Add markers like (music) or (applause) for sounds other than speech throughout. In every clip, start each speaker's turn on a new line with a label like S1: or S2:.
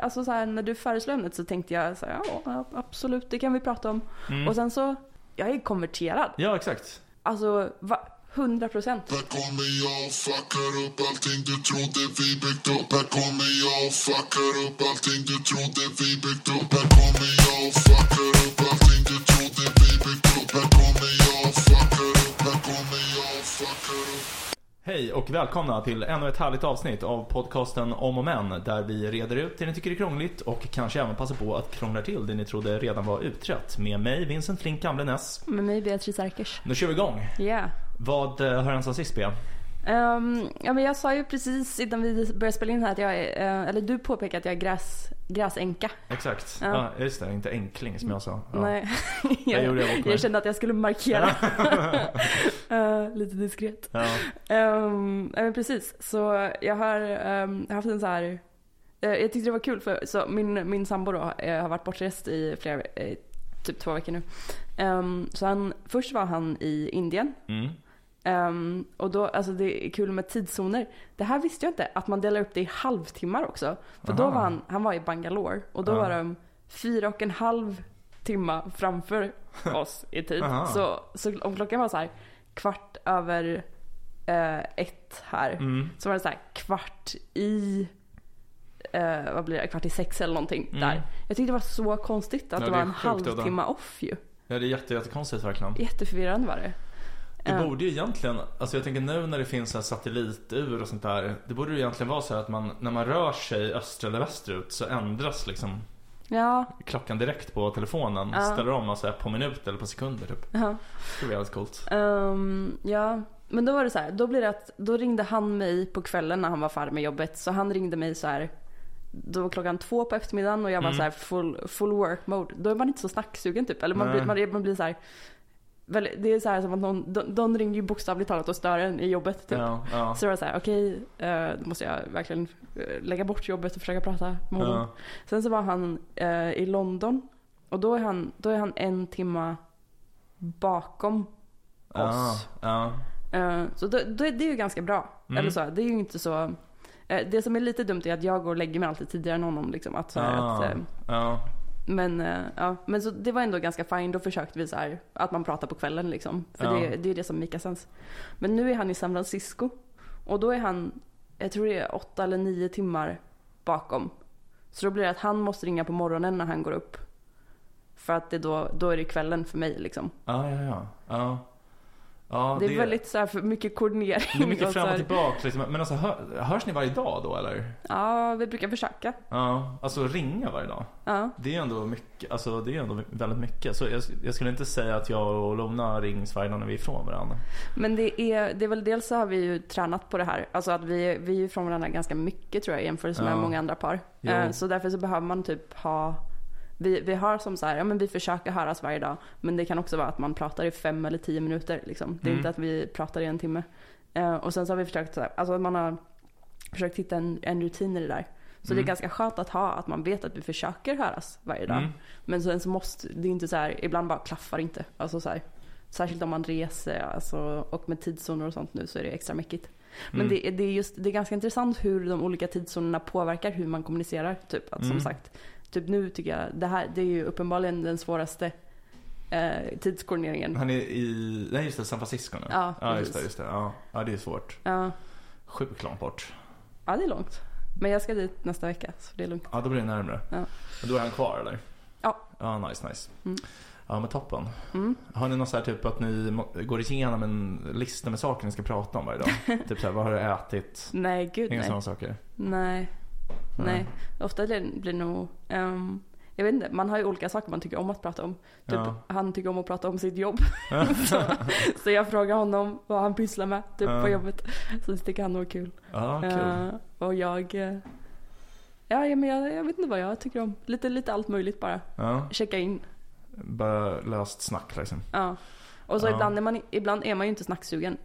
S1: alltså så här, när du föreslog ämnet så tänkte jag så här, ja absolut det kan vi prata om.
S2: Mm.
S1: Och sen så, jag är konverterad.
S2: Ja, exakt.
S1: Alltså va, 100 procent.
S3: Här kommer jag och fuckar upp allting du trodde vi byggt upp Här kommer jag och fuckar upp allting du trodde vi byggt upp Här kommer jag och fuckar upp allting du trodde vi byggt upp Här kommer jag och fuckar upp, här kommer jag och fuckar upp
S2: Hej och välkomna till ännu ett härligt avsnitt av podcasten Om och Men där vi reder ut det ni tycker är krångligt och kanske även passar på att krångla till det ni trodde redan var utrett. Med mig, Vincent Flink Gamle Ness.
S1: Med mig Beatrice Erkers.
S2: Nu kör vi igång.
S1: Ja.
S2: Vad eh, har hänt sen sist Bea?
S1: Ehm, ja, men jag sa ju precis innan vi började spela in här att jag är, eh, eller du påpekade att jag är gräs, gräsänka.
S2: Exakt. Ja.
S1: Ja.
S2: just det. Inte enkling som jag sa. Ja.
S1: Nej,
S2: Jag gjorde det
S1: jag, (laughs)
S2: också.
S1: jag kände att jag skulle markera. (laughs) Eh, lite diskret.
S2: Ja.
S1: Ehm, ja, men precis, så jag har ehm, haft en så här eh, jag tyckte det var kul för så min, min sambo då eh, har varit bortrest i flera, eh, typ två veckor nu. Ehm, så han, först var han i Indien
S2: Mm.
S1: Ehm, och då, alltså det är kul med tidszoner. Det här visste jag inte, att man delar upp det i halvtimmar också. För då
S2: Aha.
S1: var han, han var i Bangalore och då
S2: Ja.
S1: var de fyra och en halv timma
S2: (laughs)
S1: framför oss i tid.
S2: Aha.
S1: så, så om klockan var så här kvart över eh, ett här
S2: Mm.
S1: så var det så här kvart i eh, vad blir det, kvart i sex eller någonting
S2: Mm.
S1: där. Jag tyckte det var så konstigt att
S2: Ja,
S1: det
S2: det
S1: var
S2: är
S1: en
S2: sjukt, Adam.
S1: halvtimme off ju.
S2: Ja, det är jätte, jättekonstigt verkligen.
S1: Jätteförvirrande var det.
S2: Det
S1: Ehm.
S2: borde ju egentligen, alltså jag tänker nu när det finns så här satellitur och sånt där. Det borde ju egentligen vara så här att man, när man rör sig öster eller västerut så ändras liksom
S1: Ja,
S2: klockan direkt på telefonen.
S1: Ja.
S2: Ställer om alltså på minuter eller på sekunder typ.
S1: ja.
S2: Det skulle vara jävligt coolt.
S1: Ehm, ja, men då var det så här. Då, blir det att, då ringde han mig på kvällen när han var färdig med jobbet. Så han ringde mig så här. Då var klockan två på eftermiddagen och jag var
S2: Mm.
S1: så här full, full work mode. Då är man inte så snacksugen typ. Eller man,
S2: Nej.
S1: blir, man, man blir så här. Väl, det är så här som att någon, de, de ringde ju bokstavligt talat och stör en i jobbet typ.
S2: Ja, ja.
S1: Så det var så här, okej, eh, då måste jag verkligen eh, lägga bort jobbet och försöka prata med honom.
S2: Ja.
S1: Sen så var han eh, i London och då är han, då är han en timma bakom
S2: Ja,
S1: oss.
S2: ja.
S1: Eh, Så då, då är det ju ganska bra.
S2: Mm.
S1: Eller så, det är ju inte så... eh, Det som är lite dumt är att jag går och lägger mig alltid tidigare än honom. Liksom, att, så här,
S2: Ja,
S1: att, eh,
S2: ja.
S1: men eh, ja, men så, det var ändå ganska fine. Då försökte vi så här, att man pratar på kvällen. Liksom, för
S2: Ja.
S1: det, det är det som makar sens. Men nu är han i San Francisco. Och då är han, jag tror det är åtta eller nio timmar bakom. Så då blir det att han måste ringa på morgonen när han går upp. För att det då, då är det kvällen för mig. Liksom.
S2: Ja, ja, ja. ja. ja
S1: det är väldigt så här, för mycket koordinering.
S2: det är mycket
S1: och så
S2: fram och
S1: här.
S2: tillbaka liksom. Men alltså hör, hörs ni varje dag då eller?
S1: Ja, vi brukar försöka.
S2: Ja, alltså ringa varje dag.
S1: Ja.
S2: Det är ju ändå mycket, alltså det är ju ändå väldigt mycket. Så jag, jag skulle inte säga att jag och Lona rings varje dag när vi är ifrån varandra.
S1: Men det är, det är väl dels så har vi ju tränat på det här. Alltså att vi, vi är ju från varandra ganska mycket tror jag jämfört med
S2: Ja.
S1: många andra par.
S2: Jo.
S1: Eh, Så därför så behöver man typ ha vi, vi har som så här, ja men vi försöker höras varje dag. Men det kan också vara att man pratar i fem eller tio minuter liksom. Det är
S2: Mm.
S1: inte att vi pratar i en timme. Eh, och sen så har vi försökt så här, alltså att man har försökt hitta en, en rutin i det där. Så det
S2: Mm.
S1: är ganska skönt att ha, att man vet att vi försöker höras varje dag.
S2: Mm.
S1: Men sen så måste, det är inte så här, ibland bara klaffar inte. Alltså så här, särskilt om man reser alltså, och med tidszoner och sånt nu så är det extra mäckigt. Men
S2: Mm.
S1: det, är- det, är just, det är ganska intressant hur de olika tidszonerna påverkar hur man kommunicerar. Typ att
S2: Mm.
S1: som sagt, typ nu tycker jag det här det är ju uppenbarligen den svåraste eh, tidskoordineringen.
S2: Han är i, nej just det, San Francisco nu.
S1: Ja,
S2: ja just
S1: precis.
S2: det, just det. Ja. ja, det är svårt.
S1: Ja,
S2: Sjukt långt bort.
S1: ja, det är långt. Men jag ska dit nästa vecka så det är lugnt.
S2: Ja, då blir det närmre.
S1: Ja.
S2: Men då är han kvar eller?
S1: Ja.
S2: Ja, nice, nice.
S1: Mm.
S2: Ja, men toppen.
S1: Mm.
S2: Har ni någon så här typ att ni må- går igenom en lista med saker ni ska prata om varje
S1: (laughs)
S2: dag? typ så här, vad har du ätit?
S1: Nej gud
S2: Inga
S1: nej.
S2: sådana saker?
S1: Nej.
S2: Nej.
S1: Nej. Ofta blir blir det nog... ehm, jag vet inte, man har ju olika saker man tycker om att prata om. Typ,
S2: Ja.
S1: (laughs) han tycker om att prata om sitt
S2: (laughs)
S1: jobb. så, så jag frågar honom vad han pysslar med typ,
S2: Ja.
S1: på jobbet. Så det tycker han nog är kul.
S2: Ja, kul.
S1: Eh, och jag... eh, ja, ja, men jag, jag vet inte vad jag tycker om. Lite, lite allt möjligt bara.
S2: Ja,
S1: Checka in.
S2: bara löst snack liksom.
S1: Ja. Och så
S2: Ja.
S1: ibland, är man, ibland är man ju inte snacksugen.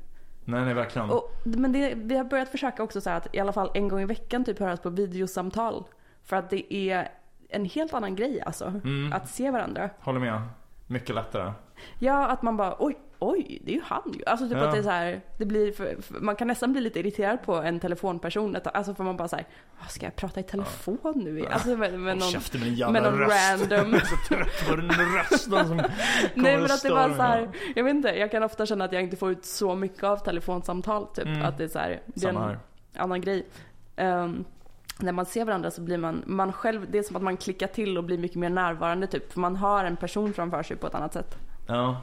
S2: Nej, nej verkligen.
S1: Och, men det, vi har börjat försöka också så här att i alla fall en gång i veckan typ höras på videosamtal. För att det är en helt annan grej alltså.
S2: Mm.
S1: Att se varandra.
S2: Håller med. Mycket lättare.
S1: Ja, att man bara oj, oj, det är ju han ju. Alltså typ
S2: Ja.
S1: att det är så här, det blir för, för, man kan nästan bli lite irriterad på en telefonperson. Ett, alltså för man bara säger, ska jag prata i telefon nu? Alltså med, med
S2: Håll
S1: någon,
S2: käften med din jävla
S1: med någon
S2: röst.
S1: random.
S2: jag är (laughs) så trött på den rösten som kommer
S1: (laughs) Nej
S2: och
S1: men att det
S2: stör
S1: var
S2: mig.
S1: så här, jag vet inte, jag kan ofta känna att jag inte får ut så mycket av telefonsamtal typ.
S2: Mm.
S1: Att det är så här, det är
S2: Samma
S1: en
S2: här.
S1: annan grej. Ehm, när man ser varandra så blir man, man själv, det är som att man klickar till och blir mycket mer närvarande typ. För man har en person framför sig på ett annat sätt.
S2: Ja.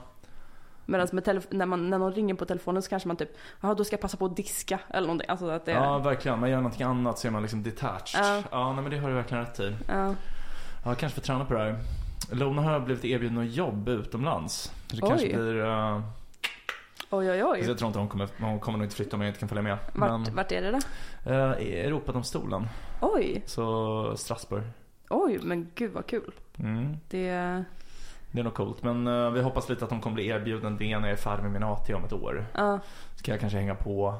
S1: Medan med telef- när, man, när någon ringer på telefonen så kanske man typ, ja då ska jag passa på att diska eller någonting. Alltså att det är,
S2: ja, verkligen. Man gör någonting annat så är man liksom detached.
S1: Ja.
S2: Ja, nej, men det har du verkligen rätt i.
S1: ja.
S2: Ja, jag kanske får träna på det här. Lona har blivit erbjuden något jobb utomlands. Så det
S1: Oj.
S2: kanske blir... eh,
S1: oj oj
S2: så
S1: oj.
S2: jag tror inte hon kommer, hon kommer nog inte flytta om jag inte kan följa med.
S1: Vart,
S2: Alltså, Men
S1: vart är det då?
S2: uh, Europadomstolen,
S1: Oj,
S2: så Strasbourg.
S1: oj men gud vad kul.
S2: Mm.
S1: Det,
S2: Det är nog coolt. Men eh, vi hoppas lite att hon kommer bli erbjuden det när jag är färdig med min AT om ett år.
S1: ja,
S2: Ska jag kanske hänga på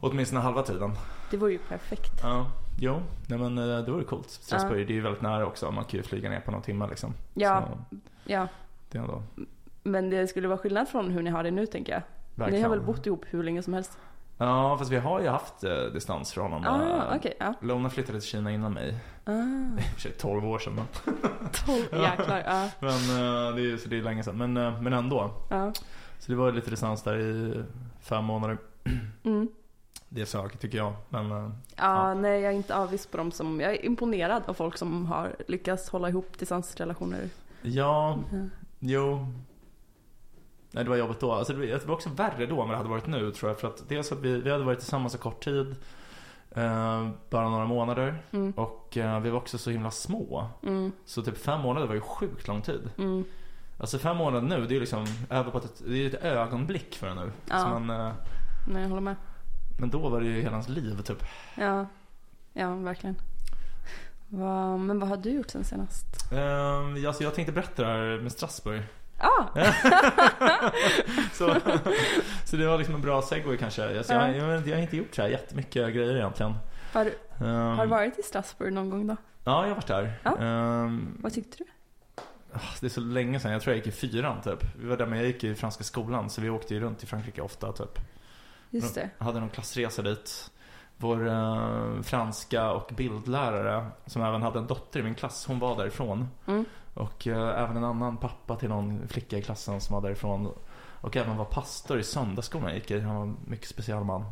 S2: åtminstone halva tiden.
S1: det vore ju perfekt.
S2: Ja, jo. Nej men eh, det vore coolt. Strasbourg, det är ju väldigt nära också. Man kan ju flyga ner på någon timme liksom.
S1: Ja.
S2: Så
S1: Ja,
S2: det är ändå
S1: men det skulle vara skillnad från hur ni har det nu tänker jag. Ni har
S2: verkligen-
S1: väl bott ihop hur länge som helst?
S2: Ja, fast vi har ju haft eh, distansförhållanden.
S1: Ah, okej. ja.
S2: Lona flyttade till Kina innan mig. (laughs)
S1: Ah,
S2: I och för sig 12 år sedan. Men,
S1: tolv, jäklar. Ja,
S2: men eh, det, är, ju- så det är länge sedan. Men, eh, men ändå.
S1: ja.
S2: Så det var lite distans där i fem månader.
S1: Mm.
S2: Det är sökt tycker jag. Men eh,
S1: Ja,
S2: Ja.
S1: nej jag är inte avis på dem som, jag är imponerad av folk som har lyckats hålla ihop distansrelationer.
S2: ja,
S1: Ja.
S2: jo. Nej, det var jobbigt då. Alltså, det var- det var också värre då än vad det hade varit nu tror jag. För att dels att vi, vi hade varit tillsammans så kort tid. eh, bara några månader.
S1: Mm,
S2: Och eh, vi var också så himla små.
S1: mm,
S2: Så typ fem månader var ju sjukt lång tid.
S1: mm.
S2: Alltså fem månader nu, det är ju liksom över på ett, det är ju ett ögonblick för en nu.
S1: Ja.
S2: Så man, eh,
S1: Nej, jag håller med.
S2: men då var det ju hela hans liv typ.
S1: Ja, ja verkligen. Va, men vad har du gjort sen senast?
S2: Um, alltså jag tänkte berätta det här med Strasbourg. (laughs)
S1: Ah,
S2: Så, så det var liksom en bra segway kanske. Alltså jag, jag, vet inte, jag har inte gjort så här jättemycket grejer egentligen.
S1: har, du-
S2: Um,
S1: har du varit i Strasbourg någon gång då?
S2: Ja, jag har varit där.
S1: Ja.
S2: Ehm, ah,
S1: Vad tyckte du?
S2: det är så länge sedan, jag tror jag gick i fyran typ. Vi var där men jag gick i franska skolan så vi åkte ju runt i Frankrike ofta typ.
S1: Just det.
S2: Jag hade någon klassresa dit. Vår eh, franska och bildlärare som även hade en dotter i min klass, hon var därifrån.
S1: Mm.
S2: Och eh, även en annan pappa till någon flicka i klassen som var därifrån. Och även var pastor i söndagsskolan jag gick i. Han var en mycket
S1: (laughs)
S2: speciell man.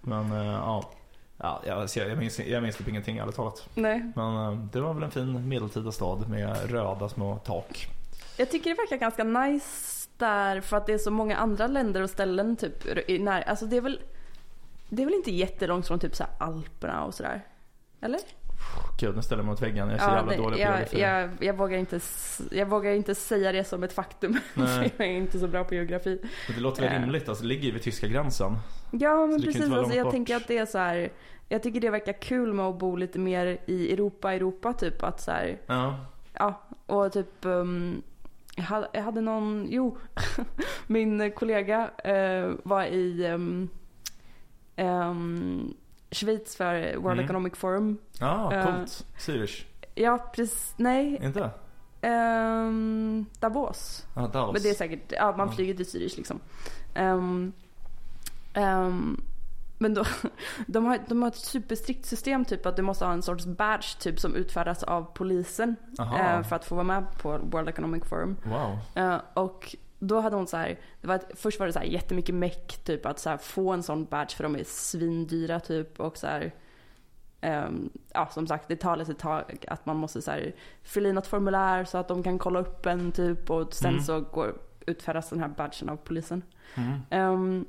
S2: Men eh, ja, ja jag, alltså, jag, minns, jag minns typ ingenting ärligt talat.
S1: Nej.
S2: Men eh, det var väl en fin medeltida stad med röda små tak.
S1: Jag tycker det verkar ganska nice där för att det är så många andra länder och ställen typ i när, alltså det är väl det är väl inte jättelångt från typ så här Alperna och sådär? Eller?
S2: Gud, nu ställer jag mig mot väggen. Jag är så jävla
S1: nej,
S2: dålig på
S1: jag,
S2: geografi.
S1: jag, jag, vågar inte, s- jag vågar inte säga det som ett faktum. (laughs)
S2: Nej.
S1: jag är inte så bra på geografi.
S2: Men Det låter väl
S1: Eh.
S2: rimligt, alltså, det ligger ju vid tyska gränsen.
S1: Ja
S2: Så
S1: men
S2: det kan inte
S1: precis,
S2: vara
S1: alltså,
S2: långt
S1: jag
S2: bort.
S1: tänker att det är så här. Jag tycker det verkar kul med att bo lite mer i Europa, Europa typ att så här,
S2: Ja.
S1: ja och typ ehm, jag, hade, jag hade någon, jo (laughs) min kollega eh, var i ehm, ehm, Schweiz för World
S2: Mm.
S1: Economic Forum.
S2: Ja,
S1: Eh.
S2: coolt. Zürich.
S1: Ja precis, nej,
S2: Inte?
S1: ehm, Davos.
S2: Ja, Davos.
S1: Men det är säkert, ja man
S2: Ja.
S1: flyger till Zürich liksom. Ehm, ehm, men då, (laughs) de har, de har ett superstrikt system typ att du måste ha en sorts badge typ som utfärdas av polisen
S2: Aha.
S1: eh, för att få vara med på World Economic Forum.
S2: Wow.
S1: Eh, och då hade hon så här, det var ett, först var det så här jättemycket meck typ att så här, få en sån badge för de är svindyra typ och så här ehm, ja som sagt det tar lite tag att man måste så här fylla i något formulär så att de kan kolla upp en typ och sen
S2: Mm.
S1: så går, utfärdas den här badgen av polisen.
S2: Mm.
S1: Ehm,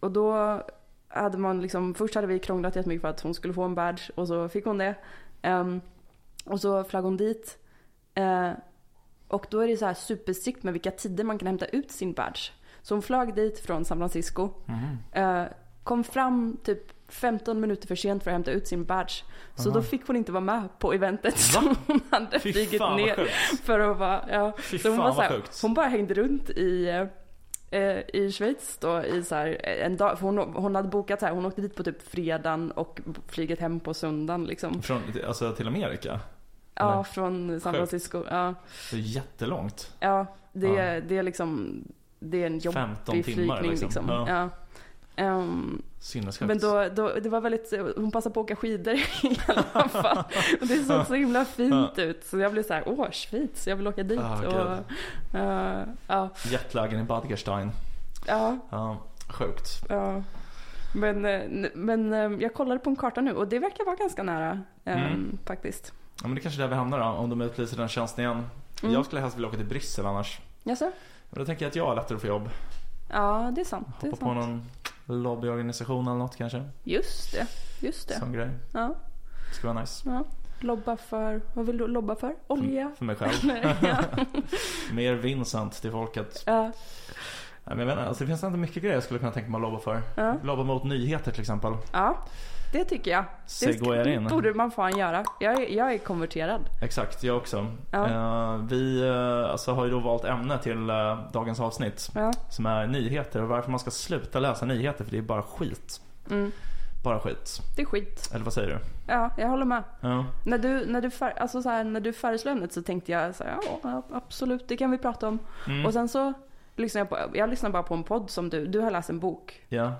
S1: och då hade man liksom, först hade vi krånglat jättemycket för att hon skulle få en badge och så fick hon det. Ehm, och så flög hon dit. Eh, och då är det så här superstrikt med vilka tider man kan hämta ut sin badge. Så hon flög dit från San Francisco.
S2: Mm.
S1: eh, kom fram typ 15 minuter för sent för att hämta ut sin badge. Så
S2: Aha.
S1: då fick hon inte vara med på eventet som hon hade
S2: Fy
S1: flugit
S2: fan vad
S1: ner.
S2: sjukt.
S1: För att vara, ja.
S2: Fy
S1: Så hon,
S2: fan
S1: var så
S2: vad
S1: här,
S2: sjukt.
S1: hon bara hängde runt i, eh, i Schweiz då i så här, en dag. För hon, hon hade bokat så här, hon åkte dit på typ fredagen och flyget hem på söndagen liksom.
S2: Från, alltså till Amerika?
S1: Ja,
S2: Eller?
S1: från San
S2: Sjukt.
S1: Francisco. Ja,
S2: Det är jättelångt.
S1: ja det,
S2: Ja.
S1: det är liksom, det är en jobbig
S2: 15 timmar
S1: flygning
S2: liksom.
S1: liksom.
S2: Ja.
S1: Ja. Ehm,
S2: Sinnessjukt.
S1: men då, då, det var väldigt, hon passade på att åka skidor (laughs) i alla fall. Och det såg så himla fint ut. Så jag blev så här, åh Schweiz, jag vill åka dit.
S2: Ah,
S1: och, eh, ja,
S2: Jetlagen i Badgerstein.
S1: ja,
S2: Ja, sjukt.
S1: ja. Men, eh, n- men eh, jag kollade på en karta nu och det verkar vara ganska nära ehm,
S2: Mm.
S1: faktiskt.
S2: Ja, men det är kanske är där vi hamnar då, om de utlyser den tjänsten igen.
S1: Mm.
S2: Jag skulle helst vilja åka till Bryssel annars.
S1: Jaså?
S2: Men då tänker jag att jag har lättare att få jobb.
S1: Ja, det är sant. Det är
S2: Hoppa på
S1: sant.
S2: någon lobbyorganisation eller något kanske.
S1: Just det, just det.
S2: Sån grej.
S1: Ja.
S2: Det skulle vara nice.
S1: Ja. Lobba för, vad vill du lobba för? Olja? (laughs)
S2: För mig själv.
S1: Eller, ja.
S2: Mer Vincent till folket.
S1: ja.
S2: Nej, men jag vet inte, alltså, det finns inte mycket grejer jag skulle kunna tänka mig att lobba för.
S1: Ja.
S2: Lobba mot nyheter till exempel.
S1: ja, det tycker jag. Det
S2: Segwayar in.
S1: borde man fan göra. Jag är, jag är konverterad.
S2: Exakt, jag också.
S1: Ja.
S2: Eh, vi eh, alltså, har ju då valt ämne till eh, dagens avsnitt.
S1: Ja.
S2: Som är nyheter och varför man ska sluta läsa nyheter för det är bara skit.
S1: Mm.
S2: Bara skit.
S1: Det är skit.
S2: Eller vad säger du?
S1: Ja, jag håller med.
S2: Ja.
S1: När du, när du, för, alltså så här, när du föreslog ämnet så tänkte jag så här, ja absolut, det kan vi prata om.
S2: Mm.
S1: Och sen så lyssnade jag på, jag lyssnade bara på en podd som du, du har läst en bok.
S2: ja.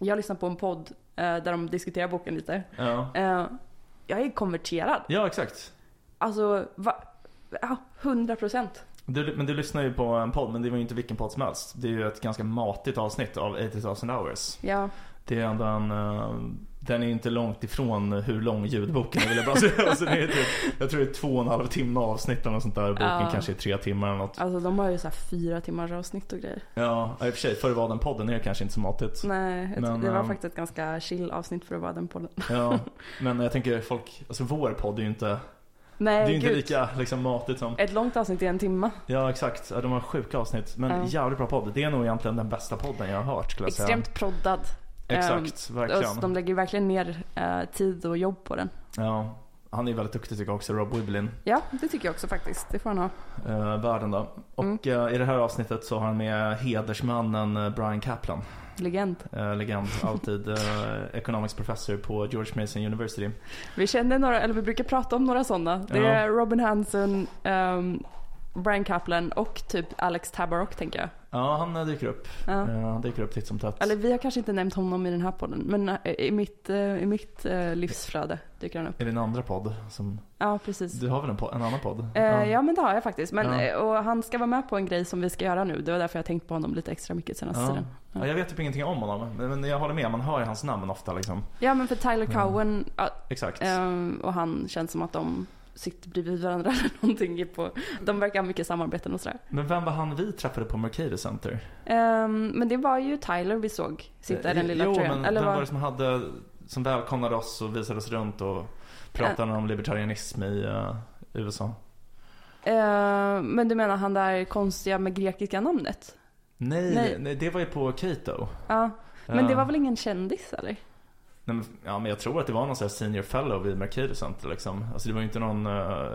S1: Jag lyssnade på en podd eh, där de diskuterar boken lite.
S2: ja.
S1: Eh, jag är konverterad.
S2: Ja, exakt.
S1: Alltså, va? Ja, 100 procent.
S2: Du, men du lyssnar ju på en podd, men det var ju inte vilken podd som helst. Det är ju ett ganska matigt avsnitt av 80,000 hours.
S1: Ja.
S2: Det är ändå en... eh, den är ju inte långt ifrån hur lång ljudboken är vill jag bara säga. (laughs) Alltså, det är typ, jag tror det är två och en halv timme avsnitt eller något sånt där. Boken
S1: Ja.
S2: kanske är tre timmar eller något.
S1: Alltså de har ju så här fyra timmars avsnitt och grejer.
S2: Ja, i och för sig. Förr var den podden är det kanske inte så matigt.
S1: Nej, jag
S2: Men,
S1: tror- det var
S2: ehm,
S1: faktiskt ett ganska chill avsnitt för att vara den podden. (laughs)
S2: Ja, men jag tänker folk, alltså vår podd är ju inte, det
S1: Nej,
S2: är ju inte
S1: gud.
S2: lika liksom matigt som
S1: Ett långt avsnitt i en timme.
S2: Ja exakt, Ja, de har sjuka avsnitt. Men
S1: Ja.
S2: jävligt bra podd. Det är nog egentligen den bästa podden jag har hört skulle jag säga.
S1: Extremt proddad.
S2: Exakt,
S1: Och
S2: verkligen.
S1: de lägger verkligen ner eh, tid och jobb på den.
S2: Ja, han är väldigt duktig tycker jag också, Rob Wiblin.
S1: Ja, det tycker jag också faktiskt. Det får han ha.
S2: Eh, världen då. Och
S1: Mm.
S2: eh, i det här avsnittet så har han med hedersmannen eh, Brian Kaplan.
S1: Legend. (laughs)
S2: Eh, legend, alltid eh, economics professor på George Mason University.
S1: Vi känner några, eller vi brukar prata om några sådana. Det
S2: Ja.
S1: är Robin Hansen, ehm, Brian Kaplan och typ Alex Tabarrok tänker jag.
S2: Ja, han eh, dyker upp.
S1: Ja.
S2: Eh, han dyker upp titt som tätt.
S1: Eller vi har kanske inte nämnt honom i den här podden, men eh, i mitt, eh, i mitt eh, livsflöde dyker han upp.
S2: I din andra podd som,
S1: Ja, precis.
S2: du har väl en, po- en annan podd?
S1: Eh, ja men det har jag faktiskt. Men,
S2: Ja.
S1: eh, Och han ska vara med på en grej som vi ska göra nu. Det var därför jag tänkt på honom lite extra mycket senaste
S2: Ja.
S1: tiden.
S2: Ja, jag vet typ ingenting om honom, men men jag håller med. Man hör ju hans namn ofta liksom.
S1: Ja men för Tyler Cowen ja,
S2: Exakt.
S1: ehm, och han känns som att de sitter bredvid varandra (laughs) eller någonting. På, de verkar ha mycket samarbeten och sådär.
S2: Men vem var han vi träffade på Mercatus Center?
S1: Ehm, men det var ju Tyler vi såg sitta i den lilla
S2: Eh, jo,
S1: tröjan.
S2: men
S1: Eller
S2: vem var
S1: var,
S2: det som hade, som välkomnade oss och visade oss runt och pratade om libertarianism i eh, USA?
S1: Ehm, men du menar han där konstiga med grekiska namnet?
S2: Nej, nej.
S1: Nej.
S2: det var ju på Cato.
S1: Ja. Men det
S2: Eh,
S1: var väl ingen kändis eller?
S2: Nej, men, ja, men jag tror att det var någon sån här senior fellow vid Mercatus Center liksom. Alltså det var ju inte någon eh,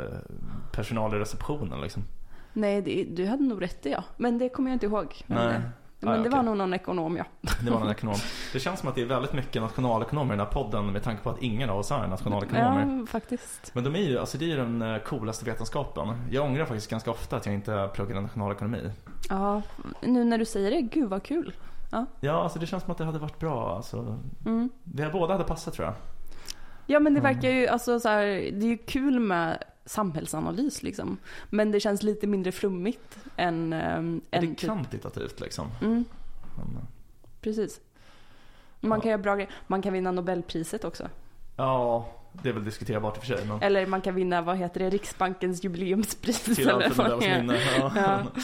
S2: personal i receptionen liksom.
S1: Nej, det, du hade nog rätt i ja. Men det kommer jag inte ihåg. vem
S2: Nej.
S1: det- Men
S2: Ah,
S1: det
S2: ja,
S1: var
S2: okej.
S1: nog någon ekonom ja.
S2: Det var en ekonom. Det känns som att det är väldigt mycket nationalekonomer i den här podden med tanke på att ingen av oss är nationalekonomer.
S1: Ja, faktiskt.
S2: Men de är ju, alltså det är ju den eh, coolaste vetenskapen. Jag ångrar faktiskt ganska ofta att jag inte pluggade nationalekonomi.
S1: Ja, nu när du säger det, gud vad kul.
S2: Ja, alltså det känns som att det hade varit bra. Alltså,
S1: Mm.
S2: vi båda hade passat tror jag.
S1: Ja men det
S2: Mm.
S1: verkar ju, alltså så här, det är ju kul med samhällsanalys liksom. Men det känns lite mindre flummigt än... ehm,
S2: Är det
S1: än typ-
S2: kvantitativt liksom?
S1: Mm,
S2: Men, eh,
S1: precis. Man
S2: Ja.
S1: kan göra bra grejer. Man kan vinna Nobelpriset också.
S2: Ja, det är väl diskuterbart i och
S1: (laughs)
S2: för sig. Men
S1: Eller man kan vinna, vad heter det, Riksbankens jubileumspris.
S2: till
S1: eller
S2: allt
S1: vad
S2: det där
S1: det är.
S2: minne. Ja.
S1: Ja.
S2: (laughs)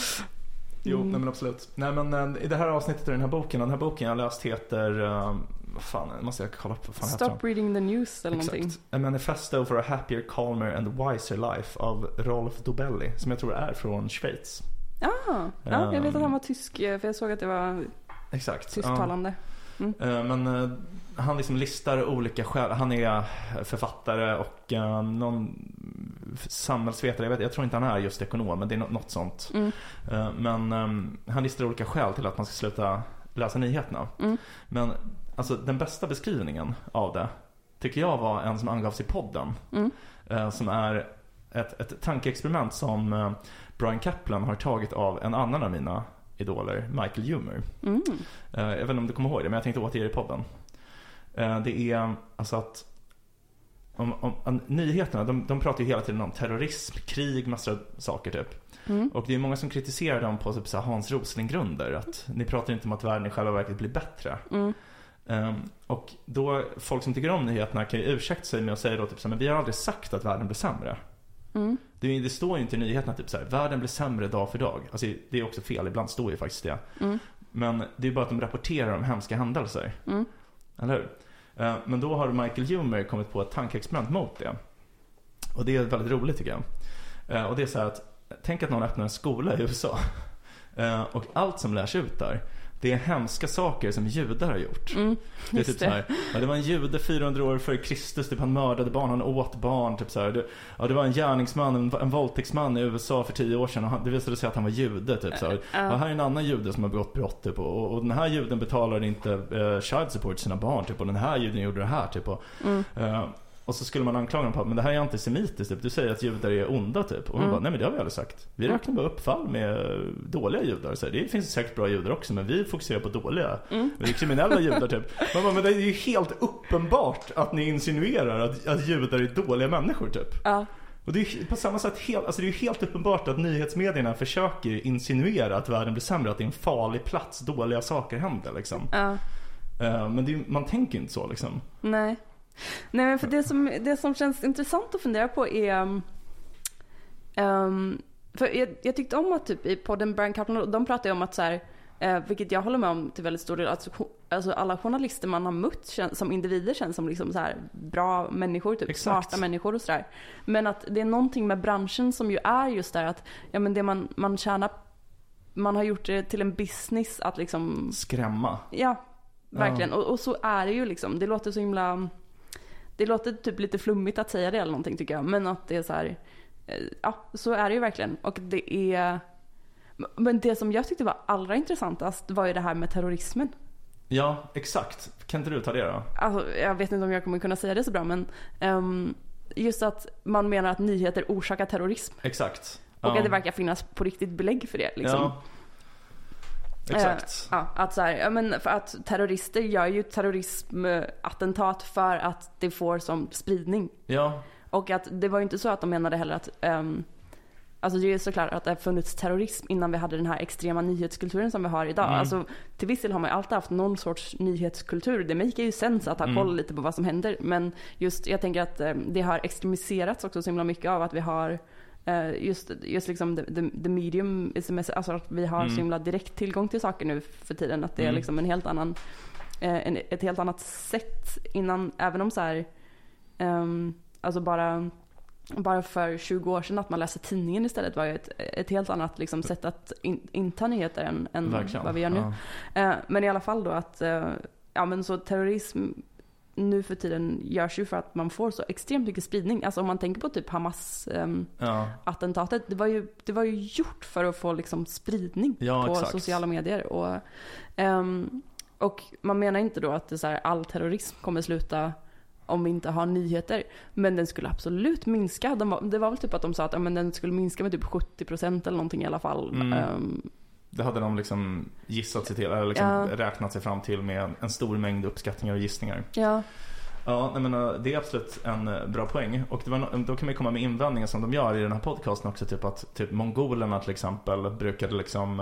S2: Jo,
S1: Mm.
S2: nej men absolut. Nej men eh, i det här avsnittet i den här boken, den här boken jag läst heter, eh, vad fan, nu måste jag kolla upp vad fan heter
S1: Stop
S2: den?
S1: reading the news eller
S2: Exakt.
S1: någonting.
S2: A manifesto for a happier, calmer and wiser life av Rolf Dobelli. Som jag tror är från Schweiz.
S1: Ah, ja, jag vet att
S2: Ehm.
S1: han var tysk, eh, för jag såg att det var
S2: Exakt. ja.
S1: tysktalande.
S2: Eh, Men eh, han liksom listar olika skäl. Han är författare och eh, någon samhällsvetare. Jag, vet, jag tror inte han är just ekonom, men det är nå- något sånt.
S1: Mm.
S2: Eh, Men eh, han listar olika skäl till att man ska sluta läsa nyheterna.
S1: Mm.
S2: Men alltså den bästa beskrivningen av det tycker jag var en som angavs i podden.
S1: Mm.
S2: eh, Som är ett, ett tankeexperiment som eh, Brian Kaplan har tagit av en annan av mina idoler, Michael Humer.
S1: Mm.
S2: Eh, Jag vet inte om du kommer ihåg det, men jag tänkte återge det i podden. Eh, Det är alltså att om, om, om, nyheterna, de, de pratar ju hela tiden om terrorism, krig, massa saker typ.
S1: Mm.
S2: Och det är många som kritiserar dem på typ så här Hans Rosling-grunder. Att ni pratar inte om att världen i själva verket blir bättre.
S1: Mm.
S2: Ehm, och då, folk som tycker om nyheterna kan ju ursäkta sig med att säga då typ så här, men vi har aldrig sagt att världen blir sämre.
S1: Mm.
S2: Det, är ju- det står ju inte i nyheterna typ så här, världen blir sämre dag för dag. Alltså det är också fel, ibland står ju faktiskt det.
S1: Mm.
S2: Men det är bara att de rapporterar om hemska händelser.
S1: Mm.
S2: Eller hur? Eh, Men då har Michael Humer kommit på ett tankeexperiment mot det. Och det är väldigt roligt tycker jag. Eh, Och det är så här att, tänk att någon öppnar en skola i USA. (laughs) Eh, Och allt som lärs ut där, det är hemska saker som judar har gjort.
S1: Mm.
S2: Det är
S1: Just
S2: typ så här, ja, det var en jude 400 år före Kristus, typ han mördade barn, han åt barn. Typ så här. Det, ja, det var en gärningsman, en, en våldtäktsman i USA för 10 år sedan och han, det visade sig att han var jude. Typ så här. Ja,
S1: Ja.
S2: här är en annan jude som har begått brott typ, och, och den här juden betalade inte eh, child support till sina barn typ, och den här juden gjorde det här typ. Och,
S1: Mm.
S2: eh, och så skulle man anklaga dem på att men det här är antisemitiskt typ. Du säger att judar är onda typ. Och man
S1: Mm.
S2: bara, nej men det har vi aldrig sagt. Vi
S1: Mm.
S2: räknar bara upp fall med eh, dåliga judar. Så här, det finns säkert bra judar också men vi fokuserar på dåliga.
S1: Mm.
S2: Det är kriminella judar typ. Man bara, men det är ju helt uppenbart att ni insinuerar att, att judar är dåliga människor typ.
S1: Ja.
S2: Och det är ju på samma sätt helt, alltså det är ju helt uppenbart att nyhetsmedierna försöker insinuera att världen blir sämre, att det är en farlig plats, dåliga saker händer liksom.
S1: Ja.
S2: Eh, Men det är, ju- man tänker ju inte så liksom.
S1: Nej. Nej men för det som, det som känns intressant att fundera på är... um, um, för jag, jag tyckte om att typ i podden Brian Kaplan, de pratar ju om att så här, eh, vilket jag håller med om till väldigt stor del, alltså, jo- alltså alla journalister man har mött kän, som individer känns som liksom så här bra människor, typ
S2: Exakt.
S1: smarta människor och sådär. Men att det är någonting med branschen som ju är just där att, ja men det man, man tjänar, man har gjort det till en business att liksom
S2: Skrämma.
S1: Ja, verkligen. Och, och så är det ju liksom. Det låter så himla... Det låter typ lite flummigt att säga det eller någonting tycker jag. Men att det är så här... eh, Ja, så är det ju verkligen. Och det är... Men det som jag tyckte var allra intressantast var ju det här med terrorismen.
S2: Ja, exakt. Kan inte du ta det då?
S1: Alltså, jag vet inte om jag kommer kunna säga det så bra men ehm, just att man menar att nyheter orsakar terrorism.
S2: Exakt.
S1: Och
S2: Ja.
S1: att det verkar finnas på riktigt belägg för det. Liksom.
S2: Ja. Exakt.
S1: Eh, ja, att så här, ja, men för att terrorister gör ju terrorismattentat för att det får som spridning.
S2: Ja,
S1: Och att det var ju inte så att de menade heller att ehm, Alltså det är ju såklart att det har funnits terrorism innan vi hade den här extrema nyhetskulturen som vi har idag.
S2: Mm.
S1: Alltså, till viss del har man ju alltid haft någon sorts nyhetskultur. Det maker ju sens att ha
S2: Mm.
S1: koll lite på vad som händer. Men just jag tänker att eh, det har extremiserats också så himla mycket av att vi har eh, just, just liksom the, the, the medium, is the message. alltså att vi har
S2: Mm.
S1: så himla direkt tillgång till saker nu för tiden. Att det är
S2: Mm.
S1: liksom en helt annan, eh, en, ett helt annat sätt innan, även om så här, ehm, alltså bara bara för 20 år sedan att man läste tidningen istället var ju ett, ett helt annat liksom, sätt att in, inta nyheter än, än
S2: verkligen.
S1: vad vi gör nu.
S2: Ja.
S1: Eh, men i alla fall då att eh, ja, men så terrorism nu för tiden görs ju för att man får så extremt mycket spridning. Alltså om man tänker på typ Hamas-attentatet.
S2: Ja,
S1: det, var ju, det var ju gjort för att få liksom, spridning
S2: ja
S1: på
S2: exakt.
S1: sociala medier. Och, ehm, och man menar inte då att det är så här, all terrorism kommer sluta om vi inte har nyheter. Men den skulle absolut minska. De var, det var väl typ att de sa att ja, men den skulle minska med typ 70% eller någonting i alla fall.
S2: Mm.
S1: Ehm,
S2: Det hade de liksom gissat sig till, eller liksom
S1: Ja.
S2: räknat sig fram till med en stor mängd uppskattningar och gissningar.
S1: ja.
S2: Ja, nej men eh, det är absolut en eh, bra poäng. Och det var, no- då kan man ju komma med invändningar som de gör i den här podcasten också. Typ att typ mongolerna till exempel brukade liksom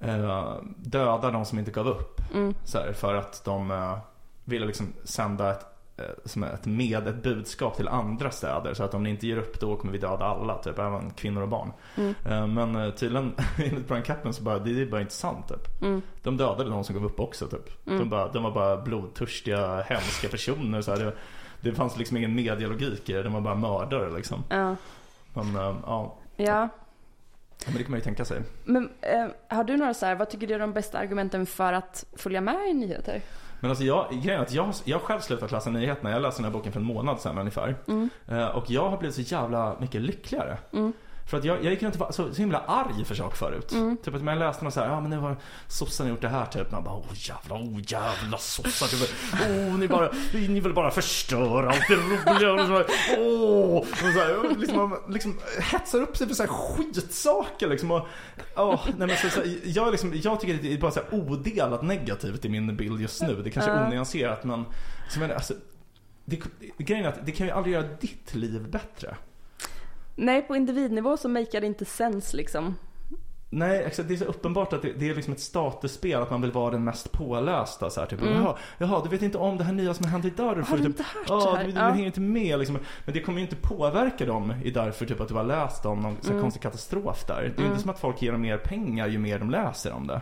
S2: eh, eh, döda de som inte gav upp.
S1: Mm.
S2: Så här, för att de eh, ville liksom sända ett, eh, som ett med, ett budskap till andra städer. Så att om ni inte ger upp då kommer vi döda alla, typ även kvinnor och barn.
S1: Mm.
S2: Eh, men eh, tydligen, (laughs) enligt Brian Kaplan så bara, det är bara inte sant typ.
S1: Mm.
S2: De dödade de som gav upp också typ.
S1: Mm.
S2: De, bara, de var bara blodtörstiga, hemska personer. Så här. Det, det fanns liksom ingen medialogik i det. De var bara mördare liksom.
S1: Ja.
S2: Men eh, ja,
S1: ja.
S2: men det kan man ju tänka sig.
S1: Men eh, har du några så här, vad tycker du är de bästa argumenten för att följa med i nyheter?
S2: Men alltså jag, grejen är att jag, jag har själv slutat läsa nyheterna. Jag läste den här boken för en månad sedan ungefär.
S1: Mm.
S2: Eh, Och jag har blivit så jävla mycket lyckligare.
S1: Mm.
S2: För att jag, jag gick runt och var så, så himla arg för saker förut. Typ att man läste något så här, ja men nu har sossarna gjort det här typ. Man bara, oh jävla, oh jävla sossar. Typ. Oh ni bara, ni vill bara förstöra allt det roliga. Och så här, Åh. Och så här, liksom, man liksom hetsar upp sig för så här skitsaker liksom. Och, åh, nej, men så, så, här, jag, liksom, jag tycker att det är bara så här odelat negativt i min bild just nu. Det kanske är
S1: Ja.
S2: onyanserat men, så, men alltså, det, grejen är att det kan ju aldrig göra ditt liv bättre.
S1: Nej, på individnivå så makear det inte sens liksom.
S2: Nej, exakt. Det är så uppenbart att det, det är liksom ett statusspel att man vill vara den mest pålästa. Så här, typ. jaha, jaha, du vet inte om det här nya som har hänt i Darfur?
S1: Mm. Har du
S2: typ,
S1: inte hört
S2: "Ja,
S1: det här?"
S2: Du, du
S1: Ja.
S2: hänger inte med liksom. Men det kommer ju inte påverka dem i Darfur typ, att du har läst om någon så här,
S1: Mm.
S2: konstig katastrof där. Det är ju inte som att folk ger dem mer pengar ju mer de läser om det.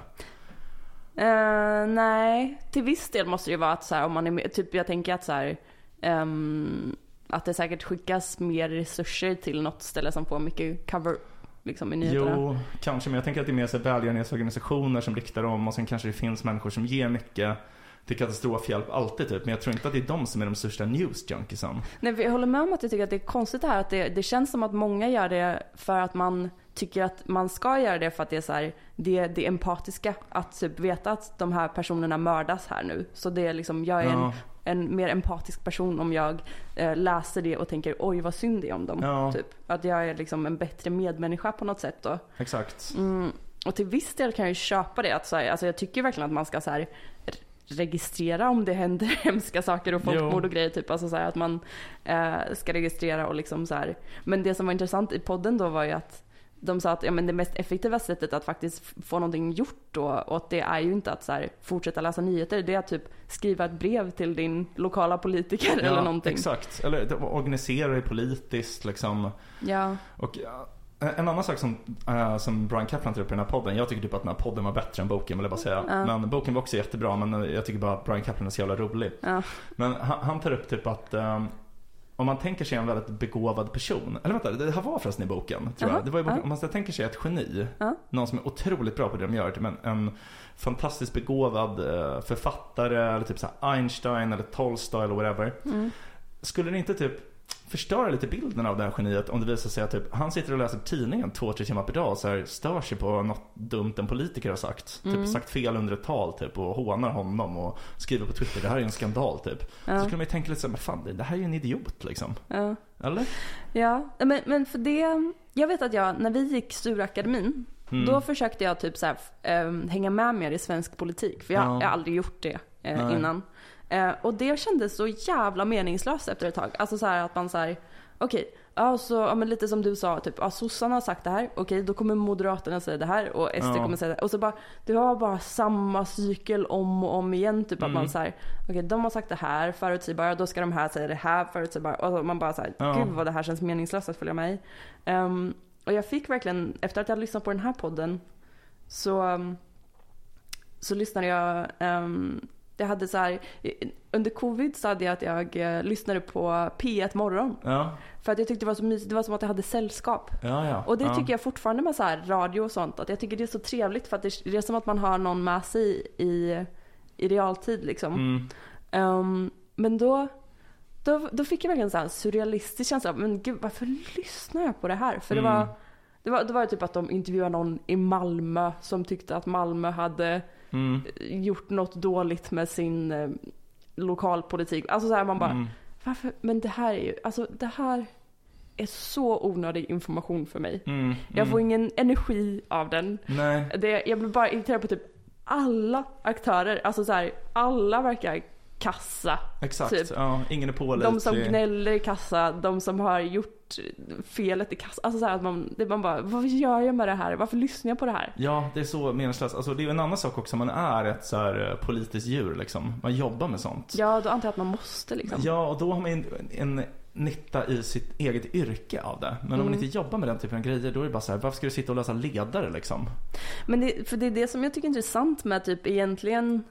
S1: Eh, nej, till viss del måste det ju vara att så här, om man är med, typ jag tänker att så här, ehm, att det säkert skickas mer resurser till något ställe som får mycket cover liksom i nyheterna.
S2: Jo, kanske. Men jag tänker att det är mer så här välgörenhetsorganisationer som riktar om och sen kanske det finns människor som ger mycket till katastrofhjälp alltid typ. Men jag tror inte att det är de som är de största newsjunkiesen.
S1: Nej, för jag håller med om att jag tycker att det är konstigt det här att det, det känns som att många gör det för att man tycker att man ska göra det för att det är så här, det, det empatiska att typ veta att de här personerna mördas här nu. Så det är liksom, jag är
S2: Ja.
S1: en, en mer empatisk person om jag eh, läser det och tänker oj vad synd det är om dem.
S2: Ja.
S1: Typ. Att jag är liksom en bättre medmänniska på något sätt då.
S2: Exakt.
S1: Och till viss del kan jag ju köpa det. Att så här, alltså jag tycker verkligen att man ska så här, re- registrera om det händer (laughs) hemska saker och folkmord
S2: Jo.
S1: och grejer. Typ. Alltså så här, att man eh, ska registrera och liksom så här. Men det som var intressant i podden då var ju att de sa att ja, men det mest effektiva sättet att faktiskt f- få någonting gjort då och att det är ju inte att så här, fortsätta läsa nyheter. Det är att typ skriva ett brev till din lokala politiker (laughs) eller någonting.
S2: Exakt, eller organisera dig politiskt liksom.
S1: Ja.
S2: Och ja, en annan sak som, eh, som Brian Kaplan tar upp i den här podden. Jag tycker typ att den här podden var bättre än boken vill jag bara säga. Men boken var också jättebra men eh, jag tycker bara att Brian Kaplan är så jävla rolig.
S1: Ja.
S2: Men han, han tar upp typ att eh, om man tänker sig en väldigt begåvad person. Eller vänta, det här var förresten i boken. Tror
S1: Jaha,
S2: jag. Det var i boken.
S1: ja.
S2: Om man så tänker sig ett geni.
S1: Ja.
S2: Någon som är otroligt bra på det de gör. Typ en, en fantastiskt begåvad eh, författare. Eller typ så här Einstein eller Tolstoj eller whatever.
S1: Mm.
S2: Skulle det inte typ förstöra lite bilden av det här geniet om det visar sig att typ, han sitter och läser tidningen två, tre timmar per dag och så här, stör sig på något dumt en politiker har sagt.
S1: Mm.
S2: Typ sagt fel under ett tal typ och hånar honom och skriver på Twitter det här är en skandal typ. Så skulle man ju tänka lite så här, men fan det- det här är ju en idiot liksom.
S1: Ja.
S2: Eller?
S1: Ja, men, men för det... Jag vet att jag, när vi gick Sturakademin,
S2: Mm.
S1: då försökte jag typ så här, eh, hänga med mer i svensk politik. För jag,
S2: Ja.
S1: jag har aldrig gjort det eh,
S2: Nej.
S1: innan. Eh, och det kändes så jävla meningslöst efter ett tag. Alltså så här att man så här, okej, ja så, ja, men lite som du sa, typ, ja sossarna har sagt det här, okej då kommer moderaterna säga det här och SD
S2: Ja.
S1: kommer säga det här. Och så bara, du har bara samma cykel om och om igen. Typ
S2: Mm.
S1: att man så här, okej de har sagt det här förutsägbara, då ska de här säga det här förutsägbara. Och så man bara så här,
S2: Ja.
S1: gud vad det här känns meningslöst att följa med i. Ehm, och jag fick verkligen, efter att jag hade lyssnat på den här podden, så, um, så lyssnade jag, um, jag hade så här, under covid så hade jag att jag eh, lyssnade på P1 morgon.
S2: Ja,
S1: För att jag tyckte det var så mysigt, det var som att jag hade sällskap.
S2: ja, ja.
S1: Och det
S2: ja.
S1: tycker jag fortfarande med så här radio och sånt, att jag tycker det är så trevligt för att det, det är som att man har någon med sig i, i, i realtid liksom.
S2: Mm.
S1: Ehm, men då, då, då fick jag verkligen så här en surrealistisk känsla av, men gud varför lyssnar jag på det här? För det
S2: Mm.
S1: var, det var, det var ju typ att de intervjuade någon i Malmö som tyckte att Malmö hade eh,
S2: Mm.
S1: gjort något dåligt med sin eh, lokalpolitik. Alltså så här man bara,
S2: Mm.
S1: varför? Men det här är ju, alltså det här är så onödig information för mig.
S2: Mm. Mm.
S1: Jag får ingen energi av den.
S2: Nej.
S1: Det, jag blir bara irriterad på typ alla aktörer. Alltså så här, alla verkar kassa.
S2: Exakt,
S1: Typ.
S2: ja, ingen är pålitlig.
S1: De som gnäller i kassa, de som har gjort felet i kassa. Alltså så här att man, det, man bara, vad gör jag med det här? Varför lyssnar jag på det här?
S2: Ja, det är så meningslöst. Alltså, det är ju en annan sak också, man är ett så här eh, politiskt djur liksom. Man jobbar med sånt.
S1: Ja, då antar jag att man måste liksom.
S2: Ja, och då har man en, en nytta i sitt eget yrke av det. Men om man
S1: Mm.
S2: inte jobbar med den typen av grejer, då är det bara så här, varför ska du sitta och läsa ledare liksom?
S1: Men det, för det är det som jag tycker är intressant med typ egentligen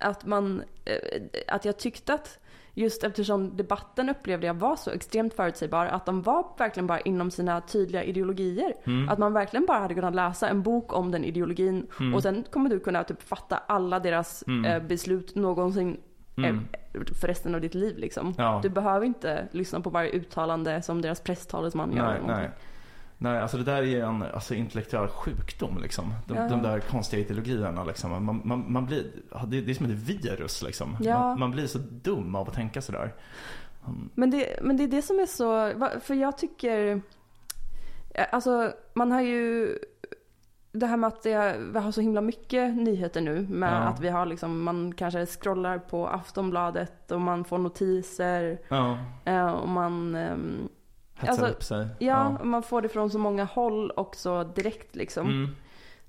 S1: att man, eh, att jag tyckte att just eftersom debatten upplevde jag var så extremt förutsägbar att de var verkligen bara inom sina tydliga ideologier.
S2: Mm.
S1: Att man verkligen bara hade kunnat läsa en bok om den ideologin
S2: Mm.
S1: och sen kommer du kunna typ fatta alla deras eh, beslut någonsin
S2: Mm.
S1: eh, för resten av ditt liv liksom.
S2: Ja.
S1: Du behöver inte lyssna på varje uttalande som deras presstalesman gör.
S2: nej,
S1: eller någonting.
S2: nej. Nej, alltså det där är ju en alltså, intellektuell sjukdom liksom. De,
S1: Ja.
S2: de där konstiga ideologierna liksom. Man, man, man blir, det, det är som ett virus liksom.
S1: Ja.
S2: Man, man blir så dum av att tänka sådär. Mm,
S1: Men det, men det är det som är så, va- för jag tycker, alltså man har ju det här med att det, vi har så himla mycket nyheter nu med
S2: Ja.
S1: att vi har liksom, man kanske scrollar på Aftonbladet och man får notiser
S2: Ja,
S1: eh, och man, ehm,
S2: hetsar
S1: Alltså,
S2: upp sig.
S1: ja, man får det från så många håll också direkt liksom.
S2: Mm.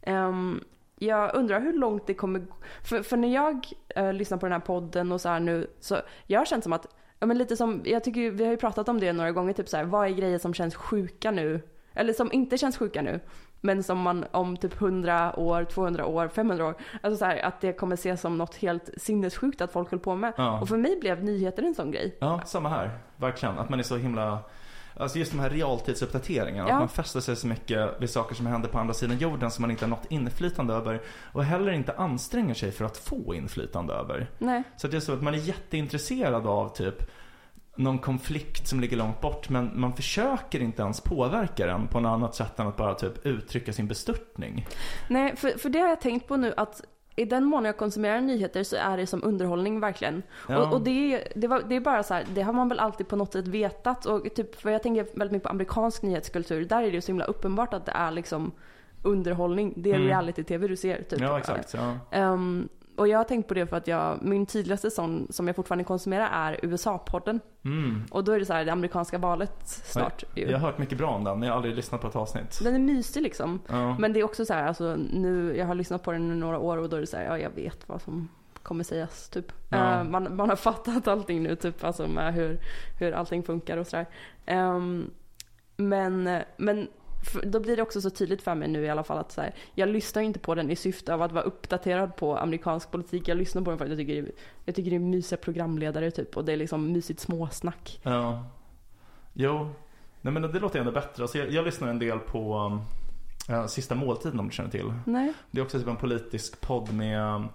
S1: Ehm, jag undrar hur långt det kommer gå. För, för när jag eh, lyssnar på den här podden och så här nu så jag har känt som att, ja men lite som, jag tycker ju- vi har ju pratat om det några gånger typ så här, vad är grejer som känns sjuka nu? Eller som inte känns sjuka nu. Men som man om typ 100 år, 200 år, 500 år. Alltså så här, att det kommer ses som något helt sinnessjukt att folk höll på med.
S2: Ja.
S1: Och för mig blev nyheter en sån grej.
S2: Ja, Alltså, samma här. Verkligen. Att man är så himla... Alltså just de här realtidsuppdateringarna.
S1: Ja.
S2: Att man fäster sig så mycket vid saker som händer på andra sidan jorden som man inte har något inflytande över. Och heller inte anstränger sig för att få inflytande över.
S1: Nej.
S2: Så att det är så att man är jätteintresserad av typ någon konflikt som ligger långt bort men man försöker inte ens påverka den på något annat sätt än att bara typ uttrycka sin bestörtning.
S1: Nej, för, för det har jag tänkt på nu att i den mån jag konsumerar nyheter så är det som underhållning verkligen.
S2: Ja.
S1: Och, och det, är- det, var, det är bara så här, det har man väl alltid på något sätt vetat. Och typ, för jag tänker väldigt mycket på amerikansk nyhetskultur. Där är det ju så himla uppenbart att det är liksom underhållning. Det är
S2: Mm.
S1: reality-tv du ser. Typ.
S2: Ja, exakt. Så, ja.
S1: Ehm, och jag har tänkt på det för att jag, min tydligaste sån som jag fortfarande konsumerar är USA-podden.
S2: Mm.
S1: Och då är det så här, det amerikanska valet snart ju.
S2: Jag har hört mycket bra om den men jag har aldrig lyssnat på ett avsnitt.
S1: Den är mysig liksom.
S2: Ja.
S1: Men det är också så här, alltså, nu, jag har lyssnat på den i några år och då är det så här, ja jag vet vad som kommer sägas typ.
S2: Ja.
S1: Eh, man, man har (laughs) fattat allting nu typ, alltså med hur, hur allting funkar och sådär. Um, men, men f- då blir det också så tydligt för mig nu i alla fall att så här, jag lyssnar ju inte på den i syfte av att vara uppdaterad på amerikansk politik. Jag lyssnar på den för att jag tycker, det är- jag tycker det är mysiga programledare typ och det är liksom mysigt småsnack.
S2: Ja. Jo. Nej men det låter ändå bättre. Alltså jag, jag lyssnar en del på um, eh, Sista måltiden om du känner till.
S1: Nej.
S2: Det är också typ en politisk podd med um,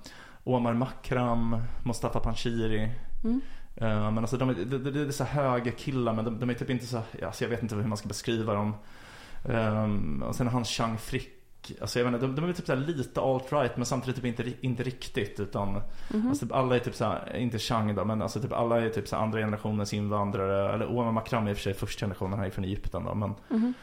S2: Omar Makram, Mustafa Panshiri.
S1: Mm.
S2: Eh, men alltså de är, det, det, det är så här höga killar men de, de är typ inte så, alltså jag vet inte hur man ska beskriva dem. Um, och sen har han Chang Frick. Alltså jag vet inte, de, de är typ så här lite alt-right men samtidigt typ inte, ri- inte riktigt utan
S1: Mhm.
S2: Alltså typ alla är typ såhär, inte Chang då, men alltså typ alla är typ såhär andra generationens invandrare. Eller Omar Makram är i och för sig första generationen, han är från Egypten då. Men,
S1: Mhm.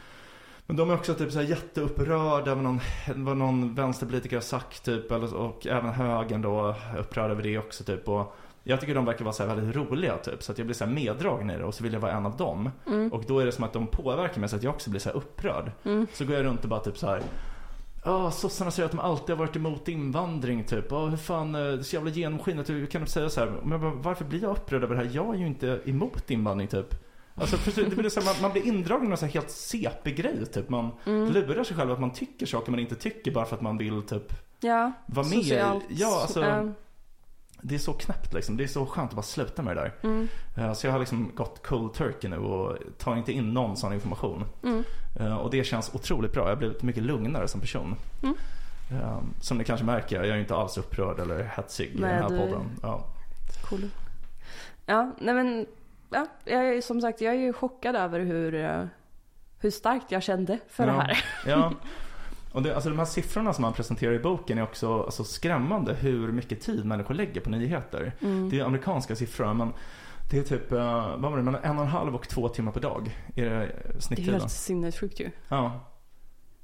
S2: men de är också typ såhär jätteupprörda över någon, vad någon vänsterpolitiker har sagt typ. Eller, och även högern då är upprörd över det också typ. Och jag tycker de verkar vara såhär väldigt roliga typ. Så att jag blir såhär meddragen i det och så vill jag vara en av dem.
S1: Mm.
S2: Och då är det som att de påverkar mig så att jag också blir såhär upprörd.
S1: Mm.
S2: Så går jag runt och bara typ så här. Ja, sossarna säger att de alltid har varit emot invandring typ. Ja, hur fan, eh, det är så jävla genomskinligt. Hur kan de säga så här? Men jag bara, varför blir jag upprörd över det här? Jag är ju inte emot invandring typ. Alltså förstår du? det blir så här, man, man blir indragen i någon så här helt CP-grej typ. Man
S1: Mm.
S2: lurar sig själv att man tycker saker man inte tycker bara för att man vill typ
S1: Ja,
S2: vara med. i-
S1: socialt.
S2: Ja, alltså.
S1: Eh,
S2: Det är så knäppt liksom. Det är så skönt att bara sluta med det där.
S1: mm.
S2: Eh, Så jag har liksom gått cold turkey nu och tar inte in någon sån information.
S1: Mm.
S2: Eh, Och det känns otroligt bra. Jag har blivit mycket lugnare som person.
S1: Mm.
S2: Eh, Som ni kanske märker, jag är ju inte alls upprörd eller hetsig i
S1: Nej,
S2: den här
S1: du-
S2: podden. Ja.
S1: Cool. Ja, nej men. Ja, jag är, som sagt, jag är ju chockad över hur, eh, hur starkt jag kände för det
S2: Ja.
S1: här.
S2: Ja. Och det, alltså de här siffrorna som han presenterar i boken är också alltså, skrämmande hur mycket tid människor lägger på nyheter.
S1: Mm.
S2: Det är amerikanska siffror men det är typ, eh, vad var det, mellan en och en halv och två timmar per dag är det eh,
S1: Det är
S2: snitttiden.
S1: helt sinnessjukt ju.
S2: Ja.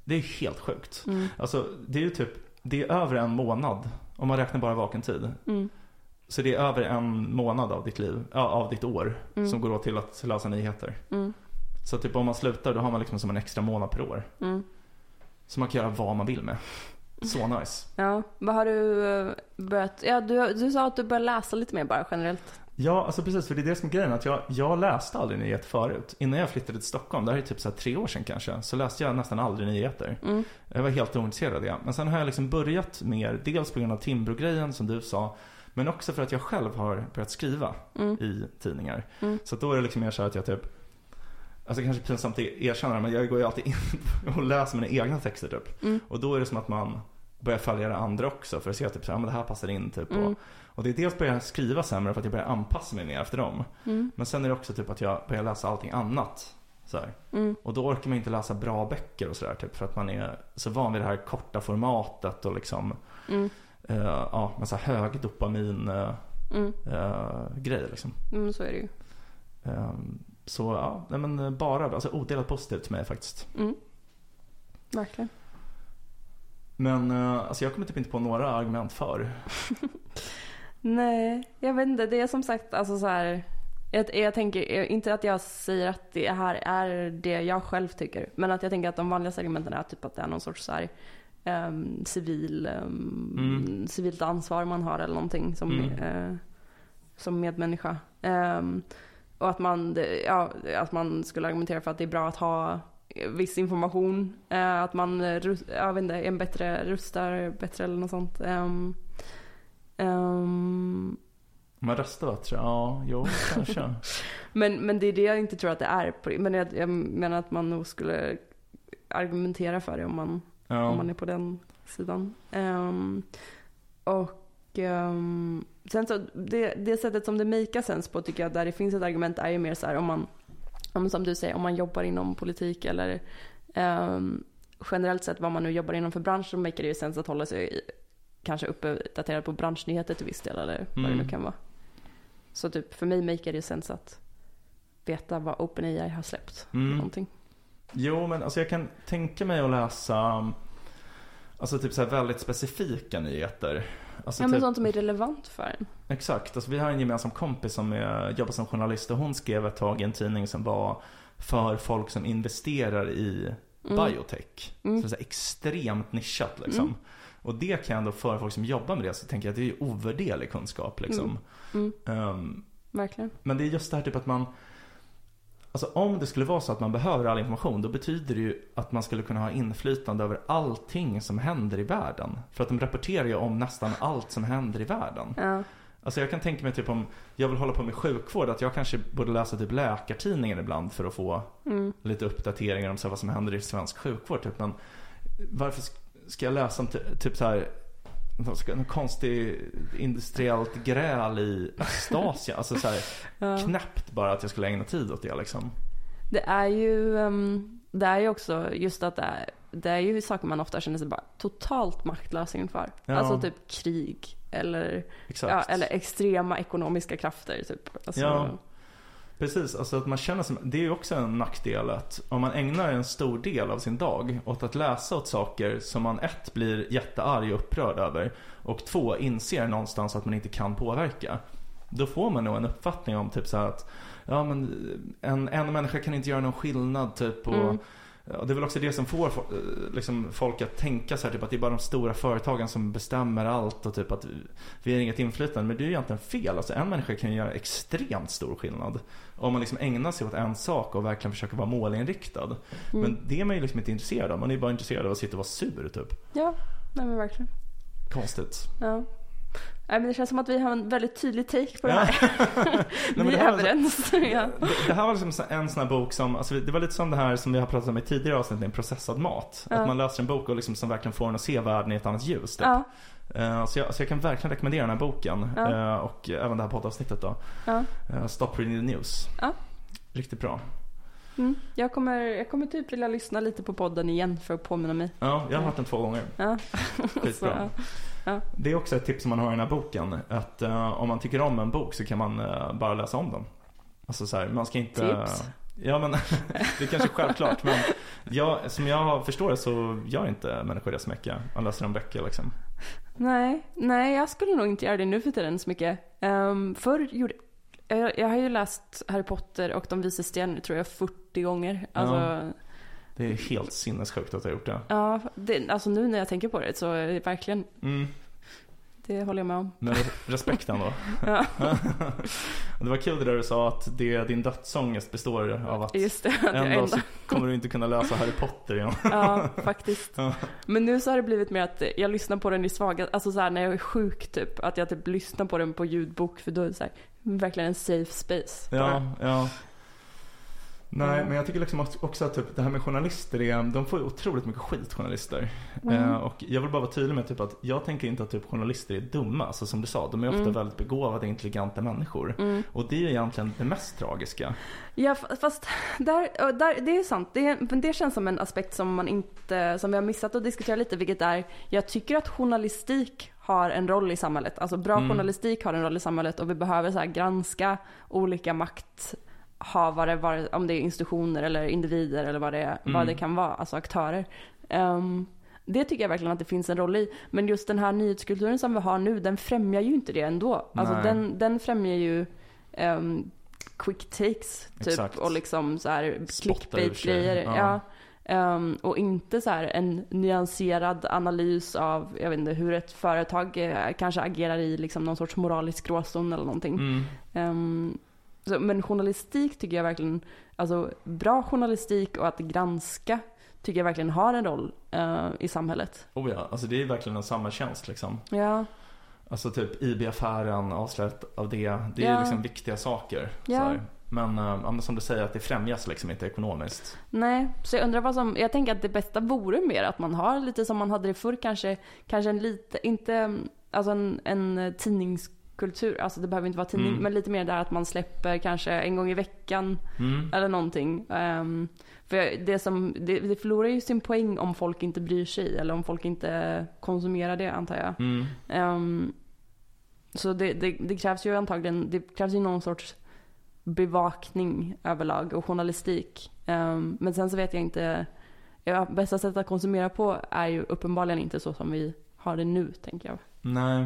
S2: Det är helt sjukt.
S1: Mm.
S2: Alltså det är ju typ, det är över en månad om man räknar bara vaken tid.
S1: Mm.
S2: Så det är över en månad av ditt liv, ja, av ditt år
S1: Mm.
S2: som går åt till att läsa nyheter.
S1: Mm.
S2: Så typ om man slutar då har man liksom som en extra månad per år.
S1: Mm.
S2: Så man kan göra vad man vill med. Så nice.
S1: Ja, vad har du eh, börjat? Ja, du, du sa att du började läsa lite mer bara generellt.
S2: Ja, alltså precis för det är det som är grejen att jag, jag läste aldrig nyheter förut. Innan jag flyttade till Stockholm, det här är typ så här tre år sedan kanske, så läste jag nästan aldrig nyheter.
S1: Mm.
S2: Jag var helt ointresserad av det. Men sen har jag liksom börjat mer, dels på grund av Timbro-grejen som du sa, men också för att jag själv har börjat skriva
S1: Mm.
S2: i tidningar.
S1: Mm.
S2: Så att då är det liksom mer så här att jag typ Alltså kanske pinsamt att erkänna det, men jag går ju alltid in (laughs) och läser mina egna texter typ.
S1: Mm.
S2: Och då är det som att man börjar följa det andra också för att se typ så här, ja, men det här passar in typ.
S1: Mm.
S2: Och, och det är dels börjar jag skriva sämre för att jag börjar anpassa mig mer efter dem.
S1: Mm.
S2: Men sen är det också typ att jag börjar läsa allting annat Så här.
S1: Mm.
S2: Och då orkar man inte läsa bra böcker och sådär typ för att man är så van vid det här korta formatet och liksom
S1: Mm.
S2: eh, ja, massa hög dopamin eh,
S1: Mm.
S2: eh, grejer liksom.
S1: Mm, så är det ju.
S2: Eh, så ja, nej, men bara alltså odelat positivt till mig faktiskt.
S1: Mm. Verkligen.
S2: Men eh, alltså jag kommer typ inte på några argument för.
S1: Nej, jag vet inte. Det är som sagt alltså så här. Jag, jag tänker eh, inte att jag säger att det här är det jag själv tycker. Men att jag tänker att de vanligaste argumenten är typ att det är någon sorts så här, ehm, civil, ehm,
S2: Mm.
S1: civilt ansvar man har eller någonting som,
S2: Mm.
S1: eh, som medmänniska. Ehm, och att man, det- ja, att man skulle argumentera för att det är bra att ha eh, viss information. Eh, att man eh, rus- jag vet inte, är en bättre rustar bättre eller något sånt. Ehm, ehm,
S2: Man röstar bättre? Ja, jo,
S1: (laughs)
S2: kanske.
S1: men, men det är det jag inte tror att det är. På, men jag, jag menar att man nog skulle argumentera för det om man,
S2: Ja.
S1: om man är på den sidan. Ehm, och ehm, sen så, det, det sättet som det makear sens på tycker jag, där det finns ett argument är ju mer så här om man, om, som du säger, om man jobbar inom politik eller ehm, generellt sett vad man nu jobbar inom för bransch så makear det ju sens att hålla sig i, kanske uppdaterad på branschnyheter till viss del eller vad det
S2: Mm.
S1: nu kan vara. Så typ för mig makear det ju sens att veta vad OpenAI har släppt.
S2: Mm.
S1: Någonting.
S2: Jo, men alltså jag kan tänka mig att läsa Alltså typ så här väldigt specifika nyheter. Alltså
S1: Ja men
S2: typ,
S1: sånt som är relevant för en.
S2: Exakt, alltså vi har en gemensam kompis som är, jobbar som journalist och hon skrev ett tag i en tidning som var för folk som investerar i
S1: Mm.
S2: biotech.
S1: Mm.
S2: Så det är så här extremt nischat liksom.
S1: Mm.
S2: Och det kan jag ändå för folk som jobbar med det så tänker jag att det är ju ovärderlig kunskap liksom.
S1: Mm.
S2: Ehm,
S1: Verkligen.
S2: men det är just det här typ att man Alltså om det skulle vara så att man behöver all information då betyder det ju att man skulle kunna ha inflytande över allting som händer i världen. För att de rapporterar ju om nästan allt som händer i världen.
S1: Ja.
S2: Alltså jag kan tänka mig typ om jag vill hålla på med sjukvård att jag kanske borde läsa typ läkartidningen ibland för att få
S1: Mm.
S2: lite uppdateringar om så här, vad som händer i svensk sjukvård. Typ. Men varför sk- ska jag läsa om ty- typ så här någon sk- någon konstig industriellt gräl i Östasien? Alltså så här,
S1: Ja.
S2: knappt bara att jag skulle ägna tid åt det liksom.
S1: Det är ju, ehm, det är ju också just att det är, det är ju saker man ofta känner sig bara totalt maktlös inför.
S2: Ja.
S1: Alltså typ krig eller,
S2: Exakt.
S1: ja, eller extrema ekonomiska krafter typ. Alltså,
S2: Ja. Precis, alltså att man känner sig, det är ju också en nackdel att om man ägnar en stor del av sin dag åt att läsa åt saker som man ett blir jättearg och upprörd över och två inser någonstans att man inte kan påverka. Då får man nog en uppfattning om typ så här att ja, men en, en människa kan inte göra någon skillnad typ och
S1: Mm.
S2: ja, det är väl också det som får fo- eh, liksom, folk att tänka så här typ att det är bara de stora företagen som bestämmer allt och typ att vi har inget inflytande. Men det är ju egentligen fel. Alltså en människa kan ju göra extremt stor skillnad. Om man liksom ägnar sig åt en sak och verkligen försöker vara målinriktad. Men det är man ju liksom inte intresserad av. Man är ju bara intresserad av att sitta och vara sur typ.
S1: ja, nej men verkligen.
S2: Konstigt.
S1: Ja. Nej, men det känns som att vi har en väldigt tydlig take på det
S2: Ja. (laughs)
S1: här.
S2: men
S1: vi
S2: det
S1: är
S2: här var så-
S1: överens. (laughs) ja.
S2: Det- Det här var liksom så- en sån här bok som, alltså det var lite som det här som vi har pratat om i tidigare avsnitt med processad mat.
S1: Ja.
S2: Att man läser en bok och liksom som verkligen får en att se världen i ett annat ljus. Typ.
S1: Ja,
S2: Eh, Så, jag, så jag kan verkligen rekommendera den här boken
S1: Ja.
S2: eh, och även det här poddavsnittet då.
S1: ja.
S2: Eh, Stop reading the news.
S1: Ja.
S2: Riktigt bra.
S1: Mm. Jag, kommer, jag kommer typ vilja lyssna lite på podden igen för att påminna mig.
S2: Ja, jag har hört den två gånger.
S1: Mm. Ja. (laughs)
S2: Skitbra.
S1: ja.
S2: Det är också ett tips som man har i den här boken. Att eh, om man tycker om en bok så kan man eh, bara läsa om den. Alltså så här, man ska inte...
S1: Tips.
S2: Ja men (laughs) det är kanske självklart men jag, som jag förstår det så gör inte människor det så mycket. Man läser om böcker liksom.
S1: Nej, nej, jag skulle nog inte göra det nu för tiden så mycket. Um, förr gjorde jag, jag har ju läst Harry Potter och De vises sten tror jag 40 gånger.
S2: Ja.
S1: Alltså,
S2: Det är helt sinnessjukt att jag har gjort det.
S1: ja, det, alltså nu när jag tänker på det så är det verkligen,
S2: Mm.
S1: det håller jag med om.
S2: Men respekt ändå.
S1: (laughs) Ja.
S2: (laughs) det var kul det där du sa att det, din dödsångest består av att
S1: Just det, att jag
S2: en dag
S1: ändå.
S2: så kommer du inte kunna läsa Harry Potter igen.
S1: (laughs) Ja, faktiskt.
S2: Ja.
S1: Men nu så har det blivit mer att jag lyssnar på den i svaga, alltså så här när jag är sjuk typ, att jag typ lyssnar på den på ljudbok för då är det så här, verkligen en safe space.
S2: Ja, ja. Nej,
S1: Mm.
S2: men jag tycker liksom också- också att typ, det här med journalister är, de får ju otroligt mycket skit journalister.
S1: Mm.
S2: Eh, och jag vill bara vara tydlig med typ att jag tänker inte att typ journalister är dumma, alltså som du sa. De är ofta
S1: Mm.
S2: väldigt begåvade, intelligenta människor.
S1: Mm.
S2: Och det är ju egentligen det mest tragiska.
S1: Ja fa- fast där, ja, där, det är sant. Det, men det känns som en aspekt som man inte, som vi har missat att diskutera lite vilket är, jag tycker att journalistik har en roll i samhället. Alltså bra
S2: Mm.
S1: journalistik har en roll i samhället och vi behöver så här granska olika makthavare, var, om det är institutioner eller individer eller vad det, vad det
S2: Mm.
S1: kan vara, alltså aktörer. Ehm, det tycker jag verkligen att det finns en roll i. Men just den här nyhetskulturen som vi har nu, den främjar ju inte det ändå. Alltså
S2: Nej.
S1: den, den främjar ju ehm, quick takes typ
S2: Exakt.
S1: och liksom så här
S2: Spotta ur
S1: clickbait
S2: sig,
S1: grejer.
S2: ja.
S1: Ja. Ehm, och inte så här en nyanserad analys av, jag vet inte, hur ett företag eh, kanske agerar i liksom någon sorts moralisk gråzon eller någonting.
S2: Mm.
S1: Ehm, så, men journalistik tycker jag verkligen, alltså bra journalistik och att granska tycker jag verkligen har en roll eh, i samhället.
S2: Oh ja, alltså det är ju verkligen en samhällstjänst liksom.
S1: Ja,
S2: Alltså typ IB-affären, avslöjandet av det. Det är ju
S1: Ja.
S2: liksom viktiga saker.
S1: Ja.
S2: Så här. Men, eh, ja, men som du säger, att det främjas liksom inte ekonomiskt.
S1: nej, så jag undrar vad som, jag tänker att det bästa vore mer att man har lite som man hade det förr kanske, kanske en lite, inte, mm, alltså en, en tidningskultur, alltså det behöver inte vara tidning,
S2: Mm.
S1: men lite mer där att man släpper kanske en gång i veckan
S2: Mm.
S1: eller någonting. Ehm, för jag- det, som, det, det förlorar ju sin poäng om folk inte bryr sig eller om folk inte konsumerar det antar jag.
S2: Mm.
S1: Ehm, så det, det, det krävs ju antagligen, det krävs ju någon sorts bevakning överlag och journalistik. Ehm, men sen så vet jag inte, ja, bästa sättet att konsumera på är ju uppenbarligen inte så som vi har det nu tänker jag.
S2: Nej.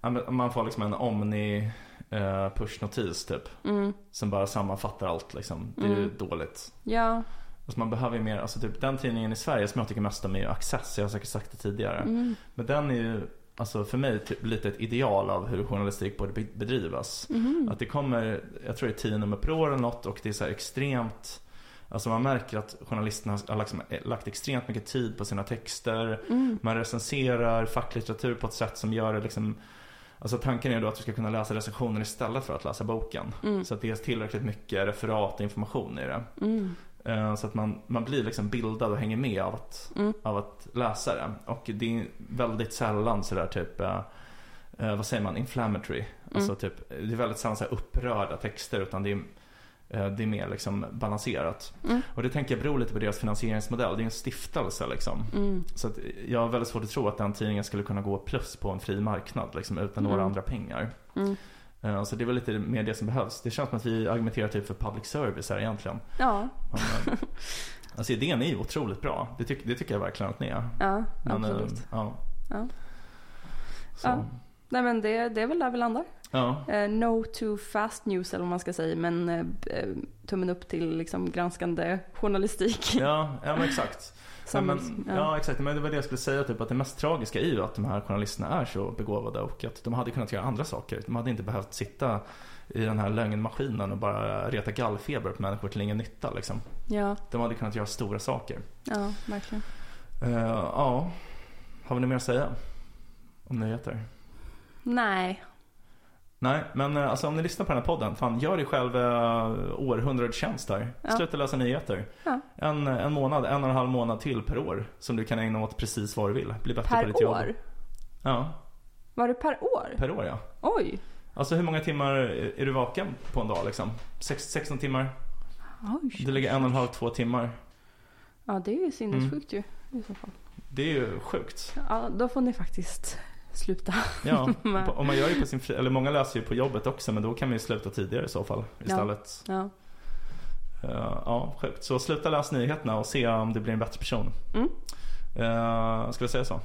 S2: Ja, men Man får liksom en omni-push-notis typ.
S1: Mm,
S2: Som bara sammanfattar allt liksom. Det är ju
S1: Mm.
S2: dåligt.
S1: ja,
S2: Alltså man behöver ju mer, alltså typ den tidningen i Sverige som jag tycker mest om är ju Access. Jag har säkert sagt det tidigare.
S1: mm,
S2: Men den är ju, alltså för mig typ lite ett ideal av hur journalistik borde be- bedrivas.
S1: mhm,
S2: Att det kommer, jag tror det är tio nummer per år eller något och det är så här extremt Alltså man märker att journalisterna har liksom lagt extremt mycket tid på sina texter.
S1: mm,
S2: Man recenserar facklitteratur på ett sätt som gör det liksom Alltså tanken är då att du ska kunna läsa recensionen istället för att läsa boken.
S1: mm,
S2: Så att det är tillräckligt mycket referat och information i det.
S1: mm,
S2: Eh, Så att man, man blir liksom bildad och hänger med av att,
S1: Mm.
S2: av att läsa det. Och det är väldigt sällan sådär typ eh, eh, Vad säger man? Inflammatory.
S1: Mm.
S2: Alltså typ, det är väldigt sällan så här upprörda texter utan det är, eh, det är mer liksom balanserat.
S1: Mm.
S2: Och det tänker jag beror lite på deras finansieringsmodell. Det är en stiftelse liksom.
S1: mm.
S2: Så att jag har väldigt svårt att tro att den tidningen skulle kunna gå plus på en fri marknad liksom, utan några
S1: Mm.
S2: andra pengar.
S1: Mm.
S2: Eh, Så det är väl lite mer det som behövs. Det känns som att vi argumenterar typ för public service här egentligen.
S1: Ja, (laughs)
S2: Men, eh, alltså idén är ju otroligt bra. Det, tyck- det tycker jag verkligen att ni är.
S1: ja,
S2: Men, eh,
S1: absolut.
S2: Ja.
S1: Ja.
S2: Så,
S1: Ja. Nej men det, det är väl där vi landar.
S2: ja.
S1: Eh, no to fast news eller vad man ska säga men eh, b- eh, tummen upp till liksom granskande journalistik. (laughs)
S2: Ja, ja men exakt. Nej,
S1: Samhälls-
S2: men,
S1: ja.
S2: ja exakt, men det var det jag skulle säga typ att det mest tragiska är ju att de här journalisterna är så begåvade och att de hade kunnat göra andra saker. De hade inte behövt sitta i den här lögnmaskinen och bara reta gallfeber på människor till ingen nytta liksom.
S1: ja,
S2: De hade kunnat göra stora saker.
S1: ja, verkligen.
S2: Eh, ja, har vi något mer att säga? Om nyheter?
S1: Nej.
S2: Nej, men eh, alltså om ni lyssnar på den här podden, fan gör dig själv eh, århundradets tjänst där.
S1: Ja.
S2: Sluta läsa nyheter.
S1: Ja.
S2: En, en månad, en och en halv månad till per år som du kan ägna åt precis vad du vill. Bli bättre på ditt
S1: Per
S2: jobb.
S1: år?
S2: Ja,
S1: Var det per år?
S2: per år ja.
S1: Oj!
S2: Alltså hur många timmar är du vaken på en dag liksom? Sex- 16 timmar?
S1: Oj.
S2: Du lägger en och en halv, två timmar.
S1: Ja det är ju sinnessjukt ju i så fall.
S2: Det är ju sjukt.
S1: Ja, då får ni faktiskt sluta.
S2: Ja,
S1: Nej.
S2: om man gör det på sin fri- eller många läser ju på jobbet också men då kan man ju sluta tidigare i så fall istället.
S1: Ja.
S2: Ja, Eh, ja sjukt. Så sluta läsa nyheterna och se om du blir en bättre person.
S1: Mm.
S2: Eh, ska vi säga så?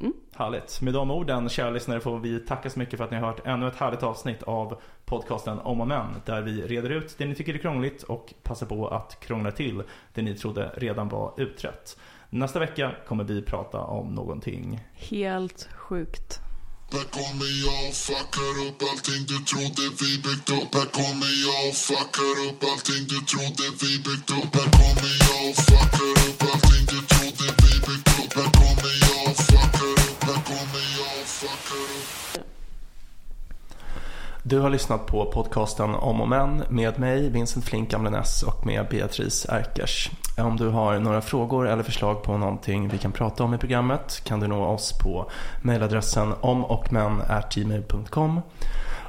S1: Mm.
S2: Härligt. Med de orden kära lyssnare får vi tacka så mycket för att ni har hört ännu ett härligt avsnitt av podcasten Om och Men. Där vi reder ut det ni tycker är krångligt och passar på att krångla till det ni trodde redan var utrett. Nästa vecka kommer vi prata om någonting
S1: Helt sjukt.
S3: Här kommer jag och fuckar upp allting du trodde vi byggt upp Här kommer jag och fuckar upp allting du trodde vi byggt upp Här kommer jag och fuckar upp allting du trodde vi byggt upp Här kommer jag och fuckar upp, här kommer jag och fuckar upp
S2: Du har lyssnat på podcasten Om och Män med mig, Vincent Flink Amlenäs och med Beatrice Erkers. Om du har några frågor eller förslag på någonting vi kan prata om i programmet kan du nå oss på mejladressen omochmän.gmail.com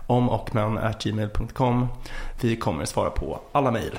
S2: omochmän.gmail.com Vi kommer svara på alla mejl.